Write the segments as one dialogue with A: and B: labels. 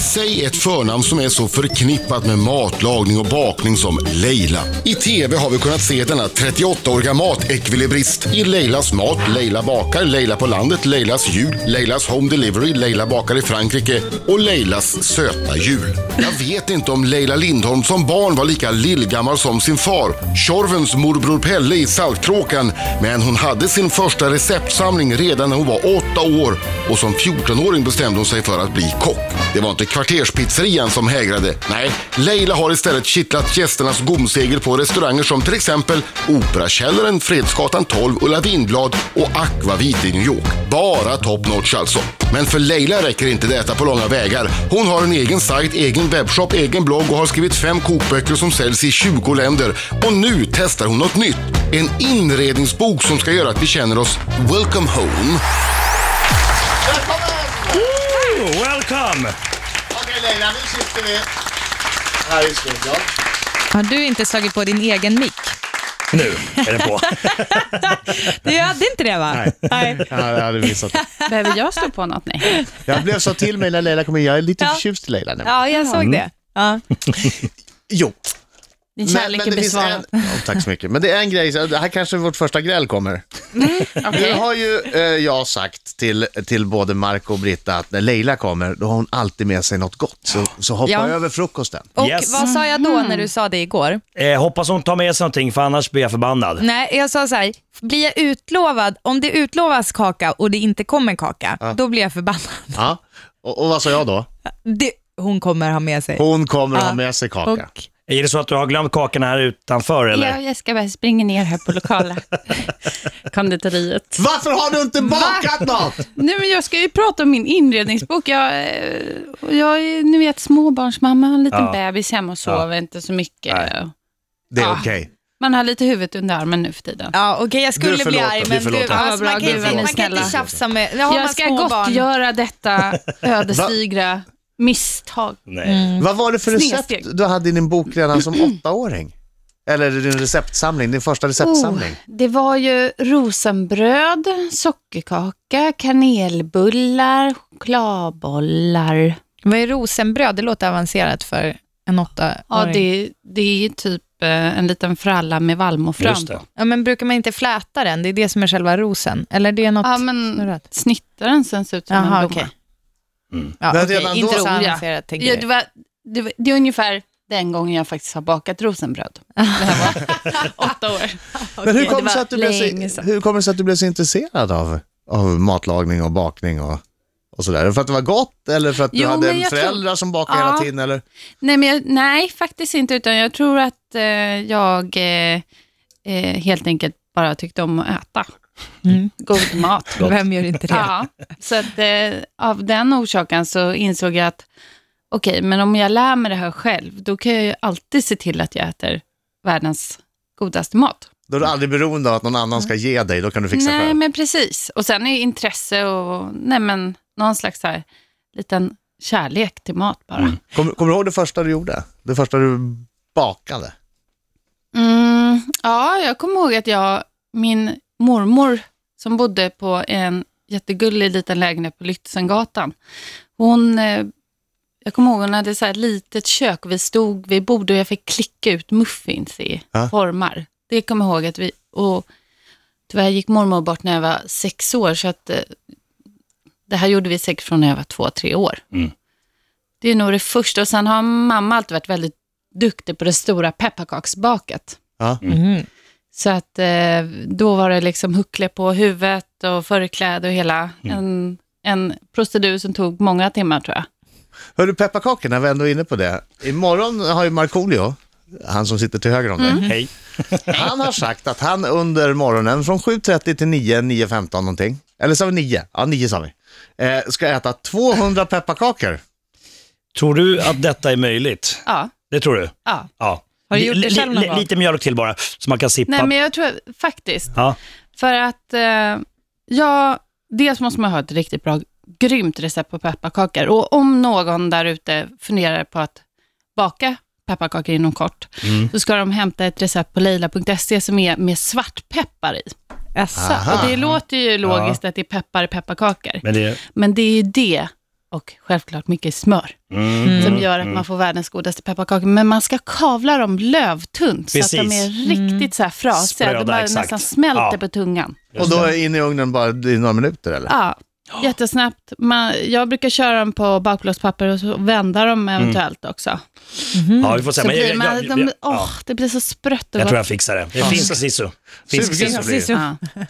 A: Säg ett förnamn som är så förknippat med matlagning och bakning som Leila. I TV har vi kunnat se denna 38-åriga matekvilibrist i Leilas mat, Leila bakar, Leila på landet, Leilas jul, Leilas home delivery, Leila bakar i Frankrike och Leilas söta jul. Jag vet inte om Leila Lindholm som barn var lika lillgammal som sin far, Tjorvens morbror Pelle i Saltkråkan, men hon hade sin första receptsamling redan när hon var åtta år och som 14-åring bestämde hon sig för att bli kock. Det var inte kvarterspizzerian som hägrade. Nej, Leila har istället kittlat gästernas gomsegel på restauranger som till exempel Operakällaren, Fredsgatan 12, Ulla Lindblad och Aquavit i New York. Bara top notch alltså. Men för Leila räcker inte detta på långa vägar. Hon har en egen sajt, egen webbshop, egen blogg och har skrivit fem kokböcker som säljs i 20 länder. Och nu testar hon något nytt. En inredningsbok som ska göra att vi känner oss welcome home.
B: Ooh, welcome!
C: Okej Leila, nu sitter vi här i studion.
D: Har du inte slagit på din egen mick?
B: Nu är den på.
D: Du hade inte det va?
C: Nej. Ja, jag hade missat det.
E: Behöver jag slå på något? Nej.
C: Jag blev så till mig när Leila kom in. Jag är lite Mm.
D: Ja.
C: förtjust i Leila nu.
D: Ja, jag såg det. Ja.
C: Jo.
E: Din kärlek är
C: finns
E: besvarad.
C: en... ja, Tack så mycket. Men det är en grej, så det här kanske vårt första gräl kommer.
F: Mm,
C: Nu har ju eh, jag sagt till, till både Marco och Britta att när Leila kommer, då har hon alltid med sig något gott. Så, så hoppa
F: Ja.
C: över frukosten.
F: Och
B: Yes.
F: vad sa jag då
C: Mm.
F: när du sa det igår?
B: Eh, hoppas hon tar med sig någonting för annars blir jag förbannad.
F: Nej, jag sa så här, blir jag utlovad, om det utlovas kaka och det inte kommer kaka, då blir jag förbannad.
C: Ja. Och, och vad sa jag då?
F: Det, hon kommer ha med sig.
C: Hon kommer
F: Ja.
C: ha med sig kaka.
F: Och,
B: Är det så att du har glömt kakorna här utanför eller?
E: Ja, jag ska bara springa ner här på lokala konditoriet.
C: Varför har du inte bakat något?
E: Nej, men jag ska ju prata om min inredningsbok. Jag, eh, och jag är, ni vet, småbarnsmamma, har en liten
B: Ja.
E: bebis hemma och sover inte så mycket.
B: Nej.
C: Det är
F: Ah.
E: Ja.
C: okej.
E: Man har lite huvudet under armen nu för tiden.
F: ja, okej, jag
C: Du
F: skulle
C: är
F: bli arg,
C: förlåten, du är
F: men du,
C: förlåten.
F: alltså,
E: Ja, bra,
F: man, kan
E: gud, vad
F: inte,
E: ni är
F: man kan inte
E: snälla.
F: tjafsa med... Har man
E: jag ska
F: små barn.
E: gottgöra detta ödesdigra misstag.
B: Nej.
E: Mm,
C: Vad var det för
E: Snedsteg.
C: recept du hade i din bok redan som åttaåring? Eller din receptsamling, din första receptsamling?
E: Oh, det var ju rosenbröd, sockerkaka, kanelbullar, chokladbollar.
D: Vad är rosenbröd? Det låter avancerat för en åttaåring.
E: Ja, det, det är typ eh, en liten fralla med valmofrön
B: Just det.
E: på.
D: Ja, men brukar man inte fläta den? Det är det som är själva rosen. Eller det är något
E: Ja, men
D: snurrat.
E: snittar den sen ser ut som
D: Jaha,
E: en
D: okej.
E: blomma.
D: Ja,
C: Men
D: okej,
C: redan
D: Inte
C: då-
D: så
E: Ja.
D: avancerat, tänker
E: Ja, det,
D: du.
E: var, det, var, det är ungefär den gången jag faktiskt har bakat rosenbröd. Det här var åtta år.
C: Men hur
E: Okej,
C: kommer det
E: det
C: sig
E: var
C: att du blev
E: länge
C: så,
E: sedan.
C: hur kommer det sig att du blev så intresserad av, av matlagning och bakning och, och sådär? För att det var gott eller för att du
E: Jo,
C: hade
E: men jag
C: föräldrar som bakade
E: Ja.
C: hela tiden? Eller?
E: Nej, men jag, nej, faktiskt inte. Utan jag tror att eh, jag eh, eh, helt enkelt bara tyckte om att äta
D: Mm.
E: god mat.
D: Vem gör inte det?
E: Ja, så att, eh, av den orsaken så insåg jag att okej, men om jag lär mig det här själv, då kan jag ju alltid se till att jag äter världens godaste mat.
C: Då är du aldrig beroende av att någon annan ska ge dig, då kan du fixa
E: nej,
C: själv.
E: men precis. Och sen är intresse och nej, men någon slags så här, liten kärlek till mat bara. Mm.
C: Kommer, kommer du ihåg det första du gjorde? Det första du bakade?
E: Mm, ja, jag kommer ihåg att jag, min mormor som bodde på en jättegullig liten lägenhet på Lützengatan, hon eh, Jag kommer ihåg hon hade så här ett litet kök och vi stod vid bord och jag fick klicka ut muffins i
C: Ja.
E: formar. Det kommer jag ihåg att vi, och tyvärr gick mormor bort när jag var sex år, så att eh, det här gjorde vi säkert från när jag var två, tre år.
B: Mm.
E: Det är nog det första och sen har mamma alltid varit väldigt duktig på det stora pepparkaksbaket.
C: Ja.
F: Mm.
D: Mhm.
E: Så att eh, då var det liksom huckle på huvudet och förkläde och hela en, en procedur som tog många timmar tror jag.
C: Hör du pepparkakor, när vi ändå är inne på det. Imorgon har ju Markoolio, han som sitter till höger om dig,
E: Mm.
B: Hej.
C: Han har sagt att han under morgonen från 7.30 till 9, 9.15 någonting, eller sa vi 9? Ja, 9 sa vi. Eh, ska äta 200 pepparkakor.
B: Tror du att detta är möjligt?
E: Ja.
B: Det tror du?
E: Ja.
B: Ja.
D: Har du gjort det
B: Li- li-
D: själv någon
B: li-
D: gång?
B: Lite mjölk till bara, så man kan sippa.
E: Nej, men jag tror faktiskt,
B: ja.
E: för att eh, ja, dels måste man ha ett riktigt bra, grymt recept på pepparkakor. Och om någon där ute funderar på att baka pepparkakor inom kort, så ska de hämta ett recept på leila.se som är med svartpeppar i.
D: Jaså?
C: Aha.
E: Och det låter ju logiskt att det är peppar i pepparkakor,
B: men det,
E: men det är ju det och självklart mycket smör
B: Mm.
E: som gör att man får världens godaste pepparkakor. Men man ska kavla dem lövtunt så att de
B: Precis. Mm.
E: är riktigt så här frasiga.
B: Spröda,
E: de bara
B: exakt.
E: nästan smälter
B: Ja.
E: på tungan.
C: Och då är jag inne i ugnen bara i några minuter eller?
E: Ja, jättesnabbt. Man, jag brukar köra dem på bakplåtspapper och så vända dem eventuellt också.
B: Ja, vi får se.
E: Mm. Så
B: Mm. Men jag,
E: blir man,
B: jag, jag,
E: de,
B: jag,
E: åh, det blir så sprött och
B: jag tror jag
E: gott.
B: fixar det. Det finns sisu. Finsk
C: Sugen.
B: sisu blir det.
E: Ja.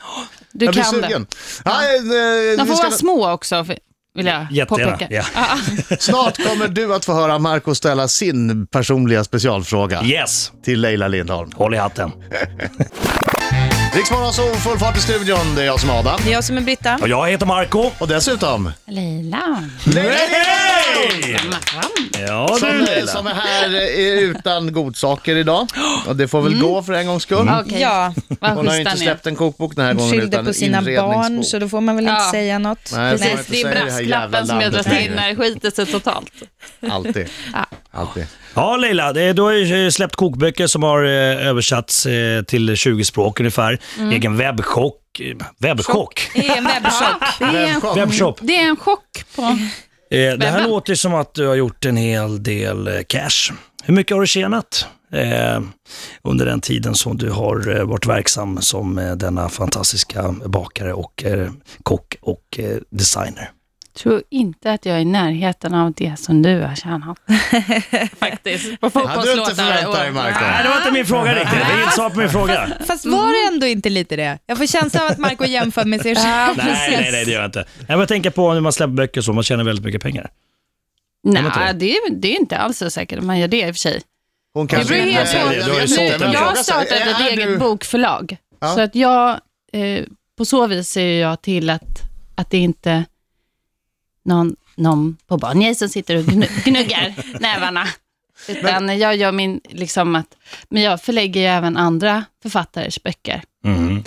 E: Du
C: jag blir
E: kan det.
C: sugen. Nej, eh,
E: De
C: vi
E: får
C: ska,
E: vara små också, för- vill jag
B: Jättegärna.
E: påpeka.
B: Ja.
C: snart kommer du att få höra Marco ställa sin personliga specialfråga
B: Yes,
C: till Leila Lindholm.
B: håll i hatten.
C: Riksmorgon så full fart i studion, det är jag som är Adam.
F: Det är jag som är Britta.
B: Och jag heter Marco.
C: Och dessutom,
E: Leila.
B: Hej! Ja
C: som,
B: du
C: eh,
B: Leila.
C: som är här eh, är utan godsaker idag. Och det får väl gå för en gångs skull.
E: Okej.
F: Ja,
E: Mm. Vad
C: Hon har ju
E: schyssta
C: inte
E: ni är.
C: släppt en kokbok den här gången
F: skyllde
C: utan
F: på sina
C: en
F: barn
C: inredningsbok.
F: så då får man väl inte
E: Ja.
F: säga något.
C: Nej, får man
E: Precis,
C: inte
E: det är
C: säga i det här jävla
E: brasklappen som jag
C: landet
E: drar in
C: längre.
E: när det skiter sig totalt.
C: Alltid. Alltid.
B: Ja Leila, det, du har ju eh, släppt kokböcker som har eh, översatts eh, till 20 språk ungefär. Egen webbchock. eh, Webbchock?
F: Det är en webbshop.
E: Det är en,
B: Webbshop.
E: det är en chock på...
B: Eh, det här
E: Webben.
B: låter ju som att du har gjort en hel del eh, cash. Hur mycket har du tjänat eh, under den tiden som du har eh, varit verksam som eh, denna fantastiska bakare och eh, kock och eh, designer?
E: Tror inte att jag är i närheten av det som du har tjänat. Faktiskt. På
C: Hade du inte förväntat dig
B: Nej,
C: Marko?
B: det var inte min fråga riktigt. Det är inte svar på min fråga.
F: Fast var det ändå inte lite det? Jag får känslan av att Marco jämför med sig själv.
B: Nej, nej, nej, det gör jag inte. Jag bara tänker på när man släpper böcker och så, man tjänar väldigt mycket pengar.
E: Nej, det är, det är inte alls så säkert om man gör det i och för sig.
C: Hon
E: Det beror
B: inte
E: helt
B: säger
E: på.
B: det, du har ju
E: Jag,
B: sålt den.
E: jag,
B: Jag
E: har startat ett
C: Är
E: eget
C: du-
E: bokförlag.
C: Ja.
E: Så att jag, eh, på så vis ser jag till att, att det inte någon, någon på Bonnier som sitter och gnu- gnuggar nävarna. Utan jag gör min, liksom att, men jag förlägger ju även andra författares böcker
B: Mm.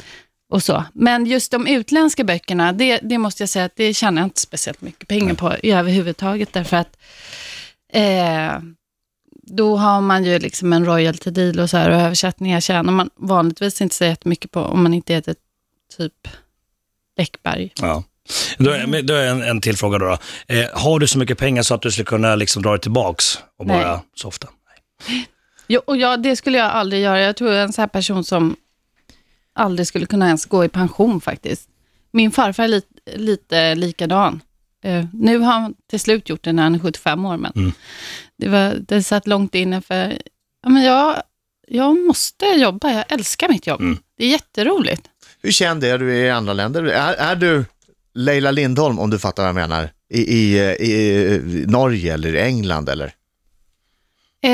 E: och så. Men just de utländska böckerna, det, det måste jag säga att det tjänar jag inte speciellt mycket pengar på i överhuvudtaget, därför att eh, då har man ju liksom en royalty deal och så här, och översättningar tjänar man vanligtvis inte så jättemycket på om man inte heter typ Läckberg.
B: Ja. Då är, men då är en, en till fråga då. då. Eh, har du så mycket pengar så att du skulle kunna liksom dra dig tillbaks och
E: Nej.
B: bara softa? Eh,
E: Jo, och jag, det skulle jag aldrig göra. Jag tror jag är en sån här person som aldrig skulle kunna ens gå i pension faktiskt. Min farfar är lite, lite likadan. Eh, nu har han till slut gjort det när han är 75 år, men
B: Mm.
E: det, var, det satt långt inne för ja, men jag, jag måste jobba. Jag älskar mitt jobb.
B: Mm.
E: Det är jätteroligt.
C: Hur känd är du i andra länder? Är, är du Leila Lindholm, om du fattar vad jag menar, i, i, eh, i, eh, Norge eller i England eller?
E: Eh,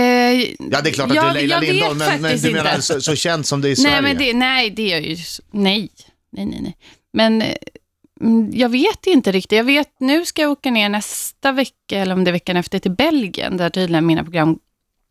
C: Ja, det är klart att du är Leila
E: jag vet
C: Lindholm, men, men
E: faktiskt
C: du menar
E: inte.
C: så, så känd som det är i Sverige?
E: Nej, men det, nej, det är ju... Nej, nej, nej. nej. Men eh, mm, jag vet inte riktigt. Jag vet, nu ska jag åka ner nästa vecka, eller om det är veckan efter, till Belgien, där tydligen mina program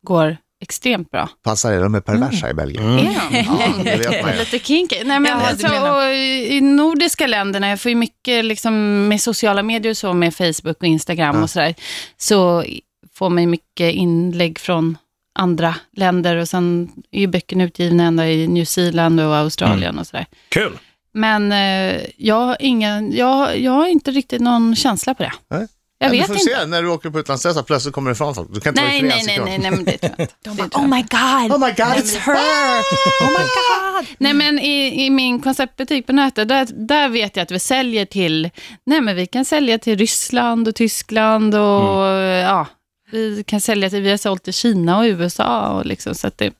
E: går extremt bra.
C: Passar det, de är perversa i Belgien.
B: Mm.
E: Är de?
C: Ja, det vet man ju.
E: Lite kinky. Nej, men
F: Ja, du
E: alltså,
F: menar.
E: och i i nordiska länderna, jag får ju mycket liksom, med sociala medier och så, med Facebook och Instagram
C: Ja.
E: och sådär, så i- får man ju mycket inlägg från andra länder och sen är ju böckerna utgivna ända i New Zealand och Australien
C: Mm.
E: och sådär.
B: Kul!
E: Men eh, jag, har ingen, jag, jag har inte riktigt någon känsla på det.
C: Nej.
E: Jag
C: Men
E: vet
C: du får
E: inte.
C: se när du åker på utlandsresa, plötsligt kommer det fram folk. Du kan inte
E: Nej,
C: vara i fred
E: nej,
C: en
E: nej,
C: sekund.
E: nej, nej, men det tror jag inte. Det tror jag
F: Oh
E: inte.
F: my god,
C: Oh my god,
F: it's her! Oh my god!
E: Nej, men i, i min konceptbutik på nätet, där, där vet jag att vi säljer till, nej men vi kan sälja till Ryssland och Tyskland och
C: Mm.
E: ja, vi kan sälja till, vi har sålt till Kina och USA och liksom så att det,
C: Till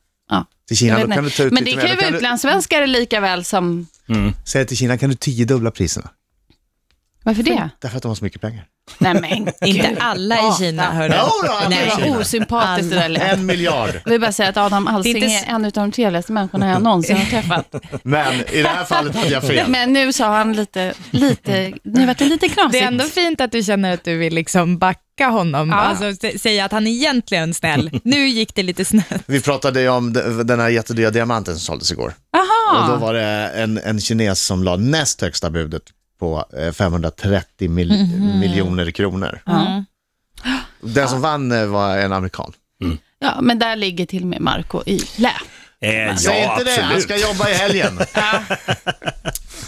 E: jag
C: Kina,
E: vet
C: då kan du
E: inte.
C: ta ut
E: Men det
C: lite
E: kan ju
C: mer. Då
E: vara
C: kan
E: utlandssvenskar lika väl som,
C: du, säg till Kina, kan du tiodubbla priserna?
E: varför det?
C: Därför att de har så mycket pengar.
E: nej men
F: Inte alla i Kina, hörru.
C: Jo då, alla i
F: Nej.
E: det var osympatiskt det där lilla.
C: En miljard.
E: Jag vill bara säga att Adam Alsing
F: Det
E: är,
F: är inte
E: en av de trevligaste människorna jag någonsin har träffat.
C: Men i det här fallet hade jag fel.
E: Men nu sa han lite, lite, nu vart det lite knasigt.
F: Det är ändå fint att du känner att du vill liksom backa honom,
E: Ja.
F: alltså, sä- säga att han är egentligen snäll. Nu gick det lite snett.
C: Vi pratade ju om de- den här jättedyra diamanten som såldes igår. Och då
E: Aha.
C: var det en, en kines som la näst högsta budet på eh, 530 mil
E: Mhm.
C: miljoner kronor.
F: Mm.
C: Den som vann eh, var en amerikan.
E: Ja, men där ligger till och med Marco i lä.
B: Eh, ja,
C: Säg inte det, han
B: absolut.
C: ska jobba i helgen.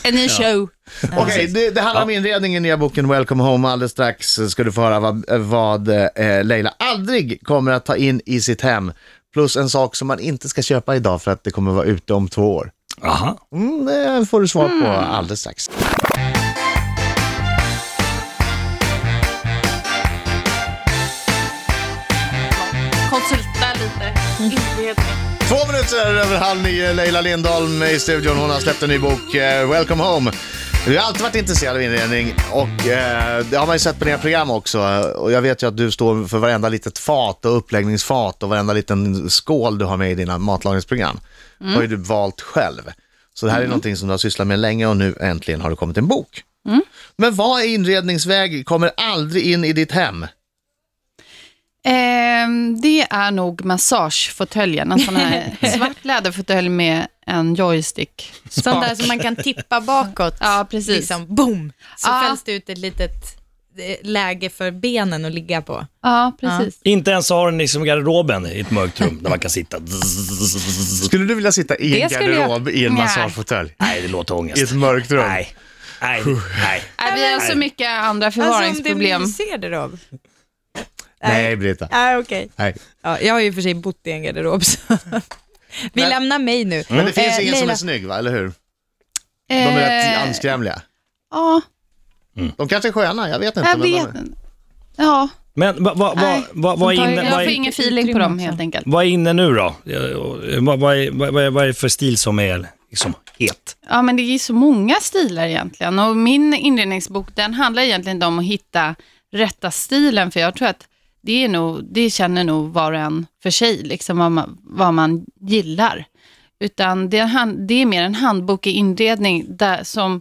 E: En ny show.
C: Okej, det, det handlar om inredningen i nya boken Welcome Home. Alldeles strax ska du få höra vad, vad eh, Leila aldrig kommer att ta in i sitt hem. Plus en sak som man inte ska köpa idag för att det kommer vara ute om två år.
B: Aha.
C: Mm, det får du svar på alldeles strax.
E: Konsulta lite.
C: Två minuter över halv nio, Leila Lindholm i studion. Hon har släppt en ny bok, eh, Welcome Home. Du har alltid varit intresserad av inredning och eh, det har man ju sett på dina program också. Och jag vet ju att du står för varenda litet fat och uppläggningsfat och varenda liten skål du har med i dina matlagningsprogram. har ju du valt själv. Så det här är någonting som du har sysslat med länge och nu äntligen har det kommit en bok. Men vad är inredningsväg kommer aldrig in i ditt hem?
E: Ehm, det är nog massagefåtöljen. En sån här svart läderfåtölj med en joystick.
F: Sånt där som man kan tippa bakåt.
E: Ja, precis.
F: Liksom, boom! Så
E: Ja.
F: fälls det ut ett litet eh, läge för benen att ligga på.
E: Ja, precis.
B: Inte ens har den liksom garderoben i ett mörkt rum där man kan sitta.
C: Skulle du vilja sitta i en
F: Det skulle jag-
C: garderob i en
E: Nej.
C: massagefåtölj?
B: Nej, det låter
C: I ett
B: ångest.
C: mörkt rum?
B: Nej, nej, nej.
E: Nej, Äh, vi har så mycket andra förvaringsproblem.
F: Alltså om det är garderob.
C: Nej, Britta.
F: Ah, okay.
C: Nej.
F: ja, jag har ju för sig bott i en garderob. Så. Vi
C: Men-
F: lämnar mig nu.
C: Men det finns
F: Eh,
C: ingen som är
F: Leila.
C: snygg, va? eller hur? De är rätt
E: Eh,
C: anskrämliga.
E: Ja,
C: De kanske är sköna, jag vet inte.
E: jag
C: men de
E: vet
C: är-
E: inte. Ja,
B: Men vad va, va,
E: Nej,
B: va, va, är
E: jag
B: inne- vad
E: får
B: är-
E: ingen feeling på dem
F: också.
E: helt enkelt.
B: vad är inne nu då? Eh, Vad vad är vad, vad, är- vad är det för stil som är liksom het?
E: Ja, men det är ju så många stilar egentligen. Och min inredningsbok, den handlar egentligen om att hitta rätta stilen, för jag tror att det, är nog, det känner nog var och en för sig, liksom vad man, vad man gillar. Utan det är, en hand, det är mer en handbok i inredning, där, som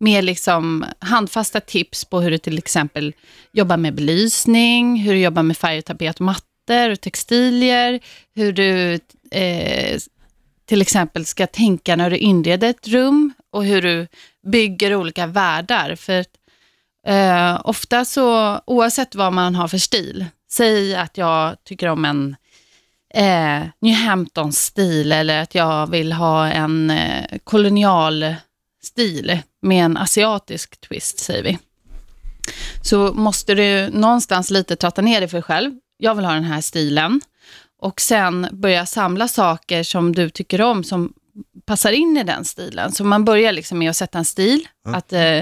E: med liksom handfasta tips på hur du till exempel jobbar med belysning, hur du jobbar med färg, och tapet, och mattor och textilier, hur du eh, till exempel ska tänka när du inreder ett rum och hur du bygger olika världar. För att, eh, ofta så, oavsett vad man har för stil, säg att jag tycker om en eh, New Hampton-stil eller att jag vill ha en eh, kolonial stil med en asiatisk twist, säger vi. Så måste du någonstans lite tratta ner dig för dig själv. Jag vill ha den här stilen och sen börja samla saker som du tycker om som passar in i den stilen. Så man börjar liksom med att sätta en stil. Att, eh,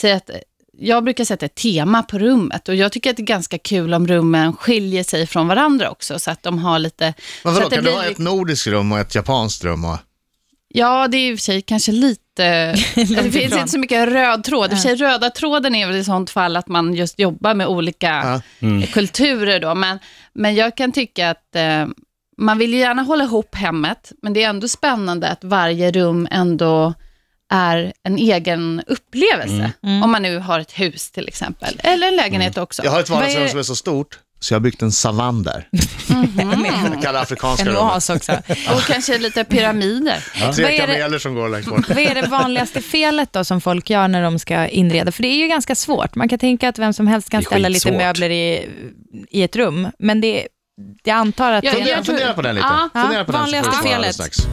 E: säga att, jag brukar sätta ett tema på rummet och jag tycker att det är ganska kul om rummen skiljer sig från varandra också så att de har lite...
C: Men
E: så
C: vadå,
E: att det
C: kan du
E: blir-
C: ha ett nordiskt rum och ett japanskt rum? Och...
E: Ja, det är i och för sig kanske lite... det finns
F: ifrån.
E: inte så mycket röd tråd. I och för sig, röda tråden är väl i sånt fall att man just jobbar med olika
C: Mm.
E: kulturer. Då. Men, men jag kan tycka att eh, man vill ju gärna hålla ihop hemmet, men det är ändå spännande att varje rum ändå är en egen upplevelse.
C: Mm.
E: Om man nu har ett hus till exempel, eller en lägenhet också.
C: Jag har ett
F: Vad
C: vardagsrum
F: är-
C: som är så stort, så jag har byggt en savann där. Jag kallar det afrikanska
F: En
C: rummet.
F: oas också.
E: Och kanske lite pyramider.
F: Vad
C: Tre
F: är det-
C: kameler som går längst bort.
F: Vad är det vanligaste felet då som folk gör när de ska inreda? För det är ju ganska svårt. Man kan tänka att vem som helst kan
B: Det är
F: ställa lite
B: skitsvårt.
F: möbler i, i ett rum, men det, jag antar att...
E: Ja,
F: det är-
E: jag tror-
C: Fundera, fundera på den lite.
E: Ja.
C: Fundera på den så får du
F: Vanligaste
C: svara alldeles
F: felet.
C: strax.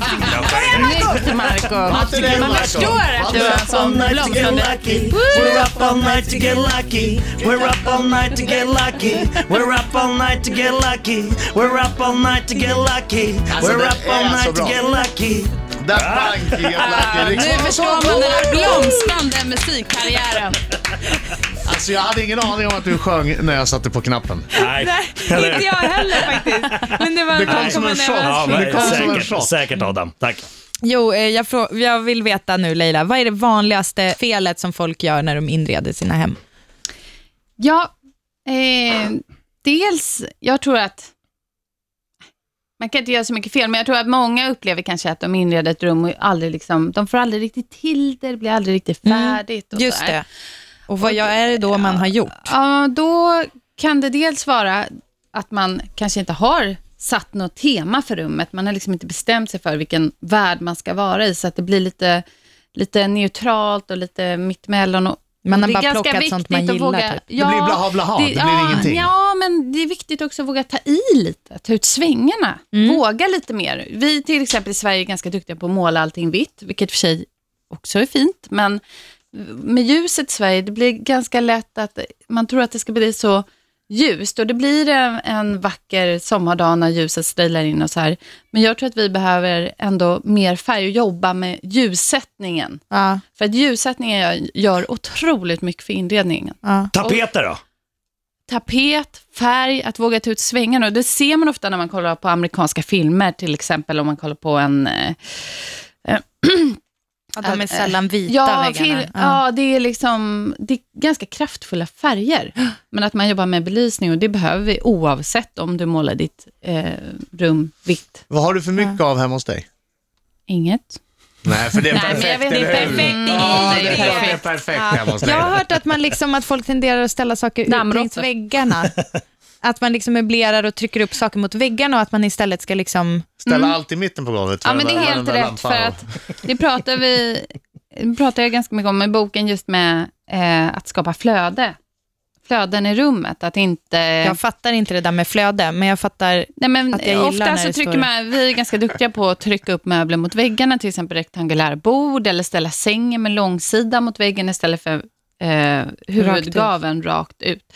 E: Snyggt Marco
C: Matte Lennartsson.
E: att du är en sån blomstrande
G: We're up all night to get lucky. We're up all night to get lucky. We're up all night to get lucky. We're up all night to get lucky.
C: Alltså,
G: We're
C: det
G: up all
C: är så
G: night to
C: bra.
G: get lucky.
C: Där bank i jävla
E: Nu
C: Eriksson.
E: förstår man den här blomstrande musikkarriären.
C: Alltså jag hade ingen aning om att du sjöng när jag satte på knappen.
B: Nej, eller-
F: Inte jag heller faktiskt. Men det var
C: Det kom som en
F: nervös.
C: chock.
B: Ja,
C: Det
B: men
C: kom som en
B: säkert,
C: chock.
B: säkert Adam. Tack.
F: Jo, eh, jag, frå- jag vill veta nu Leila, vad är det vanligaste felet som folk gör när de inreder sina hem?
E: Ja, eh, dels, jag tror att man kan inte göra så mycket fel, men jag tror att många upplever kanske att de inreder ett rum och aldrig liksom, de får aldrig riktigt till det, det blir aldrig riktigt
F: Mm,
E: färdigt. och
F: Just
E: sådär.
F: det. Och vad gör- är det då man har gjort?
E: Ja, då kan det dels vara att man kanske inte har satt något tema för rummet. Man har liksom inte bestämt sig för vilken värld man ska vara i, så att det blir lite, lite neutralt och lite mittemellan. Och
F: Man har
E: det är
F: bara
E: ganska
F: plockat
E: viktigt
F: sånt man
E: att
F: gillar.
E: våga...
F: Typ.
E: Ja,
C: blir blaha blaha, det blir ingenting.
E: Ja, men det är viktigt också att våga ta i lite, ta ut svängarna, våga lite mer. Vi till exempel i Sverige är ganska duktiga på att måla allting vitt, vilket för sig också är fint, men med ljuset i Sverige, det blir ganska lätt att man tror att det ska bli så ljust och det blir en, en vacker sommardag när ljuset strilar in och så här. Men jag tror att vi behöver ändå mer färg och jobba med ljussättningen.
F: Ja,
E: För att ljussättningen gör, gör otroligt mycket för inredningen.
F: ja.
B: Tapeter då?
E: Tapet, färg, att våga ta ut svängarna. Och Det ser man ofta när man kollar på amerikanska filmer, till exempel om man kollar på en... eh,
F: eh, Ja, de är sällan vita
E: Ja,
F: väggarna.
E: fil, ja, det är liksom det är ganska kraftfulla färger. Men att man jobbar med belysning, och det behöver vi oavsett om du målar ditt eh, rum vitt.
C: Vad har du för mycket av hemma hos dig?
E: Inget.
C: Nej, för det är
F: Nej, men
C: perfekt,
F: jag vet, det är
C: eller hur?
F: perfekt, det är
C: Ja,
F: ju
C: det är
F: det.
C: klart det är perfekt hemma hos dig.
F: Jag har hört att, man liksom, att folk tenderar att ställa saker ut
E: Dammråttor.
F: längs väggarna. Att man liksom möblerar och trycker upp saker mot väggarna och att man istället ska liksom...
C: Ställa allt i mitten på golvet.
E: Mm. Ja,
C: för
E: men det
C: den
E: är
C: där-
E: helt
C: den där
E: rätt,
C: lampan
E: för
C: och-
E: att det pratar vi det pratar jag ganska mycket om i boken, just med eh, att skapa flöde. Flöden i rummet, att inte...
F: Jag fattar inte det där med flöde, men jag fattar...
E: Nej, men
F: Att jag gillar när
E: ofta så
F: det
E: trycker
F: står-
E: man, vi är ganska duktiga på att trycka upp möbler mot väggarna, till exempel rektangulära bord, eller ställa sängen med långsida mot väggen istället för eh, huvudgaveln rakt ut.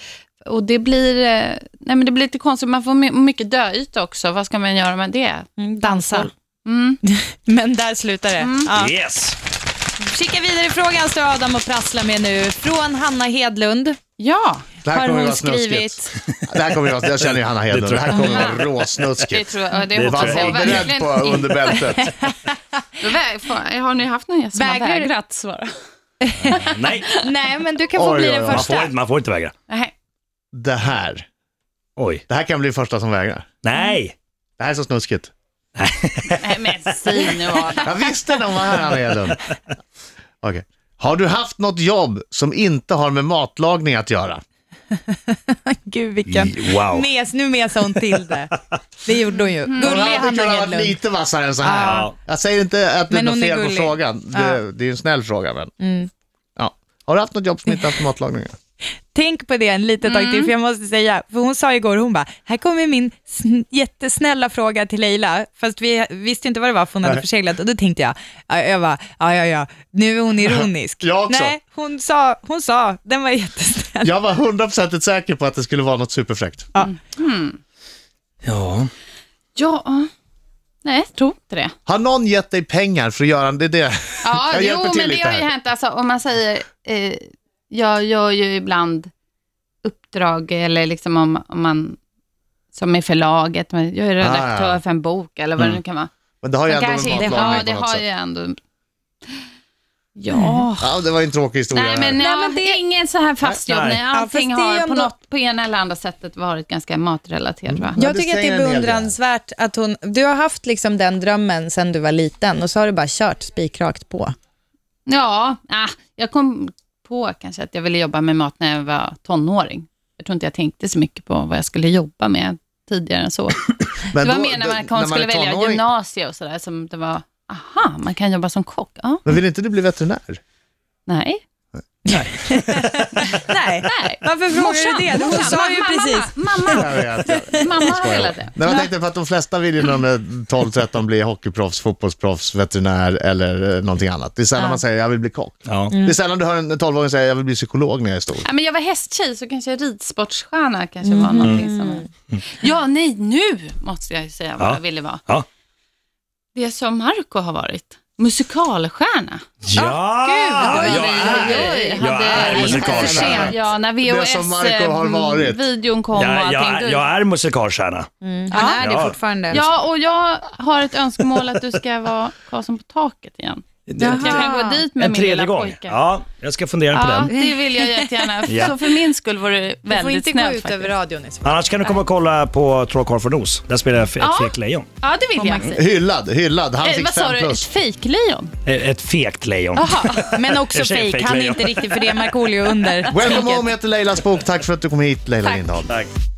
E: Och det blir, eh, nej, men det blir lite konstigt, man får my- mycket döyta också, vad ska man göra med det?
F: Dansa. Mm.
E: Mm.
F: Men där slutar det. Ja.
B: Yes!
F: Kika vidare i frågan står Adam och prasslar med nu. Från Hanna Hedlund
E: Ja,
C: Det här
F: har
C: kommer
F: hon
C: ju vara snuskigt.
F: skrivit.
C: Det här kommer ju vara, jag känner ju Hanna Hedlund, det här kommer
E: jag.
C: vara
E: det
C: råsnuskigt.
E: tror jag, det,
B: Det
E: hoppas
B: tror
E: jag
B: jag.
C: Var beredd
E: verkligen.
C: på under bältet.
E: Vä- fan, Har ni haft någon gäst som har
F: Vägrar du?
E: vägrat svara?
B: Nej,
F: Nej, men du kan få
C: Oj,
F: bli
C: oj,
F: den
C: oj.
B: man får,
F: första.
B: inte- man får inte vägra.
E: Nej.
C: Det här,
B: Oj.
C: det här kan bli första som vägrar.
B: Nej!
C: Det här är så snuskigt.
E: Nej, men säg nu Adam.
C: Jag visste de var här, Hanna Hedlund. Okej. Har du haft något jobb som inte har med matlagning att göra?
F: Gud, vilken...
B: Wow.
F: Mes, nu mesade hon till det. Det gjorde hon
E: Mm.
F: ju.
C: Hon
F: Gullig
C: hade
F: Hanna
C: kunnat vara
F: Hedlund.
C: lite vassare än så här.
B: Ja.
C: Jag säger inte att det är
F: Men
C: något
F: hon är
C: fel på
F: gullig.
C: frågan. Det, det är ju en snäll fråga, men.
E: Mm.
C: Ja. Har du haft något jobb som inte haft med matlagning att göra?
F: Tänk på det en liten tag till, för jag måste säga, för hon sa igår, hon bara, här kommer min sn- jättesnälla fråga till Leila, fast vi visste inte vad det var för hon hade
C: Nej.
F: förseglat, och då tänkte jag, ja, jag bara, ja, ja, ja, nu är hon ironisk.
C: Jag också.
F: Nej, hon sa, hon sa, den var jättesnäll.
C: Jag var hundraprocentigt säker på att det skulle vara något superfräckt.
B: Ja.
E: Ja, nej, jag tror inte det.
C: Har någon gett dig pengar för att göra det? är det.
E: Ja,
C: Jag hjälper
E: jo,
C: till
E: men det
C: lite
E: har ju
C: här.
E: hänt. Alltså, om man säger, eh, jag gör ju ibland uppdrag, eller liksom om, om man, som i förlaget, men jag är redaktör
C: Ah, ja.
E: för en bok, eller vad det nu kan vara.
C: Men det har ju
E: Men
C: ändå
E: kanske inte,
C: med
E: ja, det
C: matlagning på något
E: har
C: sätt.
E: ju ändå... Ja.
C: Ja, det var ju en tråkig historia.
E: Nej, men,
C: det här.
E: ja, det är ingen så här fast jobb.
B: Nej.
E: Nej.
F: Ja, fast
E: Allting
F: det är
E: har på,
F: ändå-
E: något, på ena eller andra sättet varit ganska matrelaterat. Va?
C: Ja,
F: Jag
C: det
F: tycker att det
C: säger
F: är
C: en hel del.
F: beundransvärt att hon, du har haft liksom den drömmen sedan du var liten och så har du bara kört spikrakt på.
E: Ja, ah, jag kom på kanske att jag ville jobba med mat när jag var tonåring. Jag tror inte jag tänkte så mycket på vad jag skulle jobba med tidigare än så.
C: Men
E: det var
C: då-
E: mer när
C: det-
E: man,
C: när
E: man skulle
C: är
E: välja
C: tonåring-
E: gymnasium och sådär, som det var, aha, man kan jobba som kock. Ja,
C: Men vill inte du bli veterinär?
E: nej.
F: Nej,
E: Nej.
F: varför frågar du det? Hon sa ju
E: mamma,
F: precis.
E: Mamma, mamma,
C: Jag vet.
E: mamma har velat det.
C: Nej, jag tänkte på att de flesta vill ju när de är 12-13 bli hockeyproffs, fotbollsproffs, veterinär eller eh, någonting annat. Det är sällan man säger jag vill bli kock.
E: Ah,
B: ja.
E: Mm.
C: Det är sällan du hör en 12-åring säga jag vill bli psykolog när jag är stor.
E: Ja, men jag var hästtjej, så kanske ridsportstjärna kanske var
B: Mm-hmm.
E: någonting som... Ja, nej, nu måste jag ju säga vad
B: Ja.
E: jag ville vara.
B: Ja.
E: Det som Marco har varit, musikalstjärna.
B: Ja!
E: Gud,
B: jag är, jag är musikalstjärna.
E: Ja, när
C: Det som Marco har varit.
E: VHS-videon mm, kom och
B: Jag, jag,
E: allting.
B: är-
E: du-
B: jag är musikalstjärna.
F: Han är det
B: Ja.
F: fortfarande.
E: Ja, och jag har ett önskemål att du ska vara Karlsson på taket igen. Att jag kan gå dit med
B: En
E: min lilla
B: tredje gång.
E: pojke.
B: Ja, jag ska fundera på
E: Ja,
B: den.
E: det vill jag jättegärna.
B: Ja.
E: Så för min skull vore det
F: Du får
E: väldigt
F: inte gå
E: snällt
F: ut över
E: faktiskt.
F: radion i så fall.
B: Annars kan du komma och kolla på Trollkarlen från Oz. Där spelar jag f- ett
E: Ja.
B: fegt lejon.
E: Ja, det vill jag.
C: Hyllad, hyllad. Han
E: Eh,
C: fick
E: vad sa
C: 5
E: du? Ett
C: plus.
E: fejklejon?
B: Ett, Eh, ett fegt lejon.
F: Men också
B: Jag känner
F: fake.
B: fake
F: Han är
B: layout.
F: inte riktigt för det är Markoolio under.
C: Welcome home heter Leilas bok. Tack för att du kom hit Leila Lindahl.
B: Tack.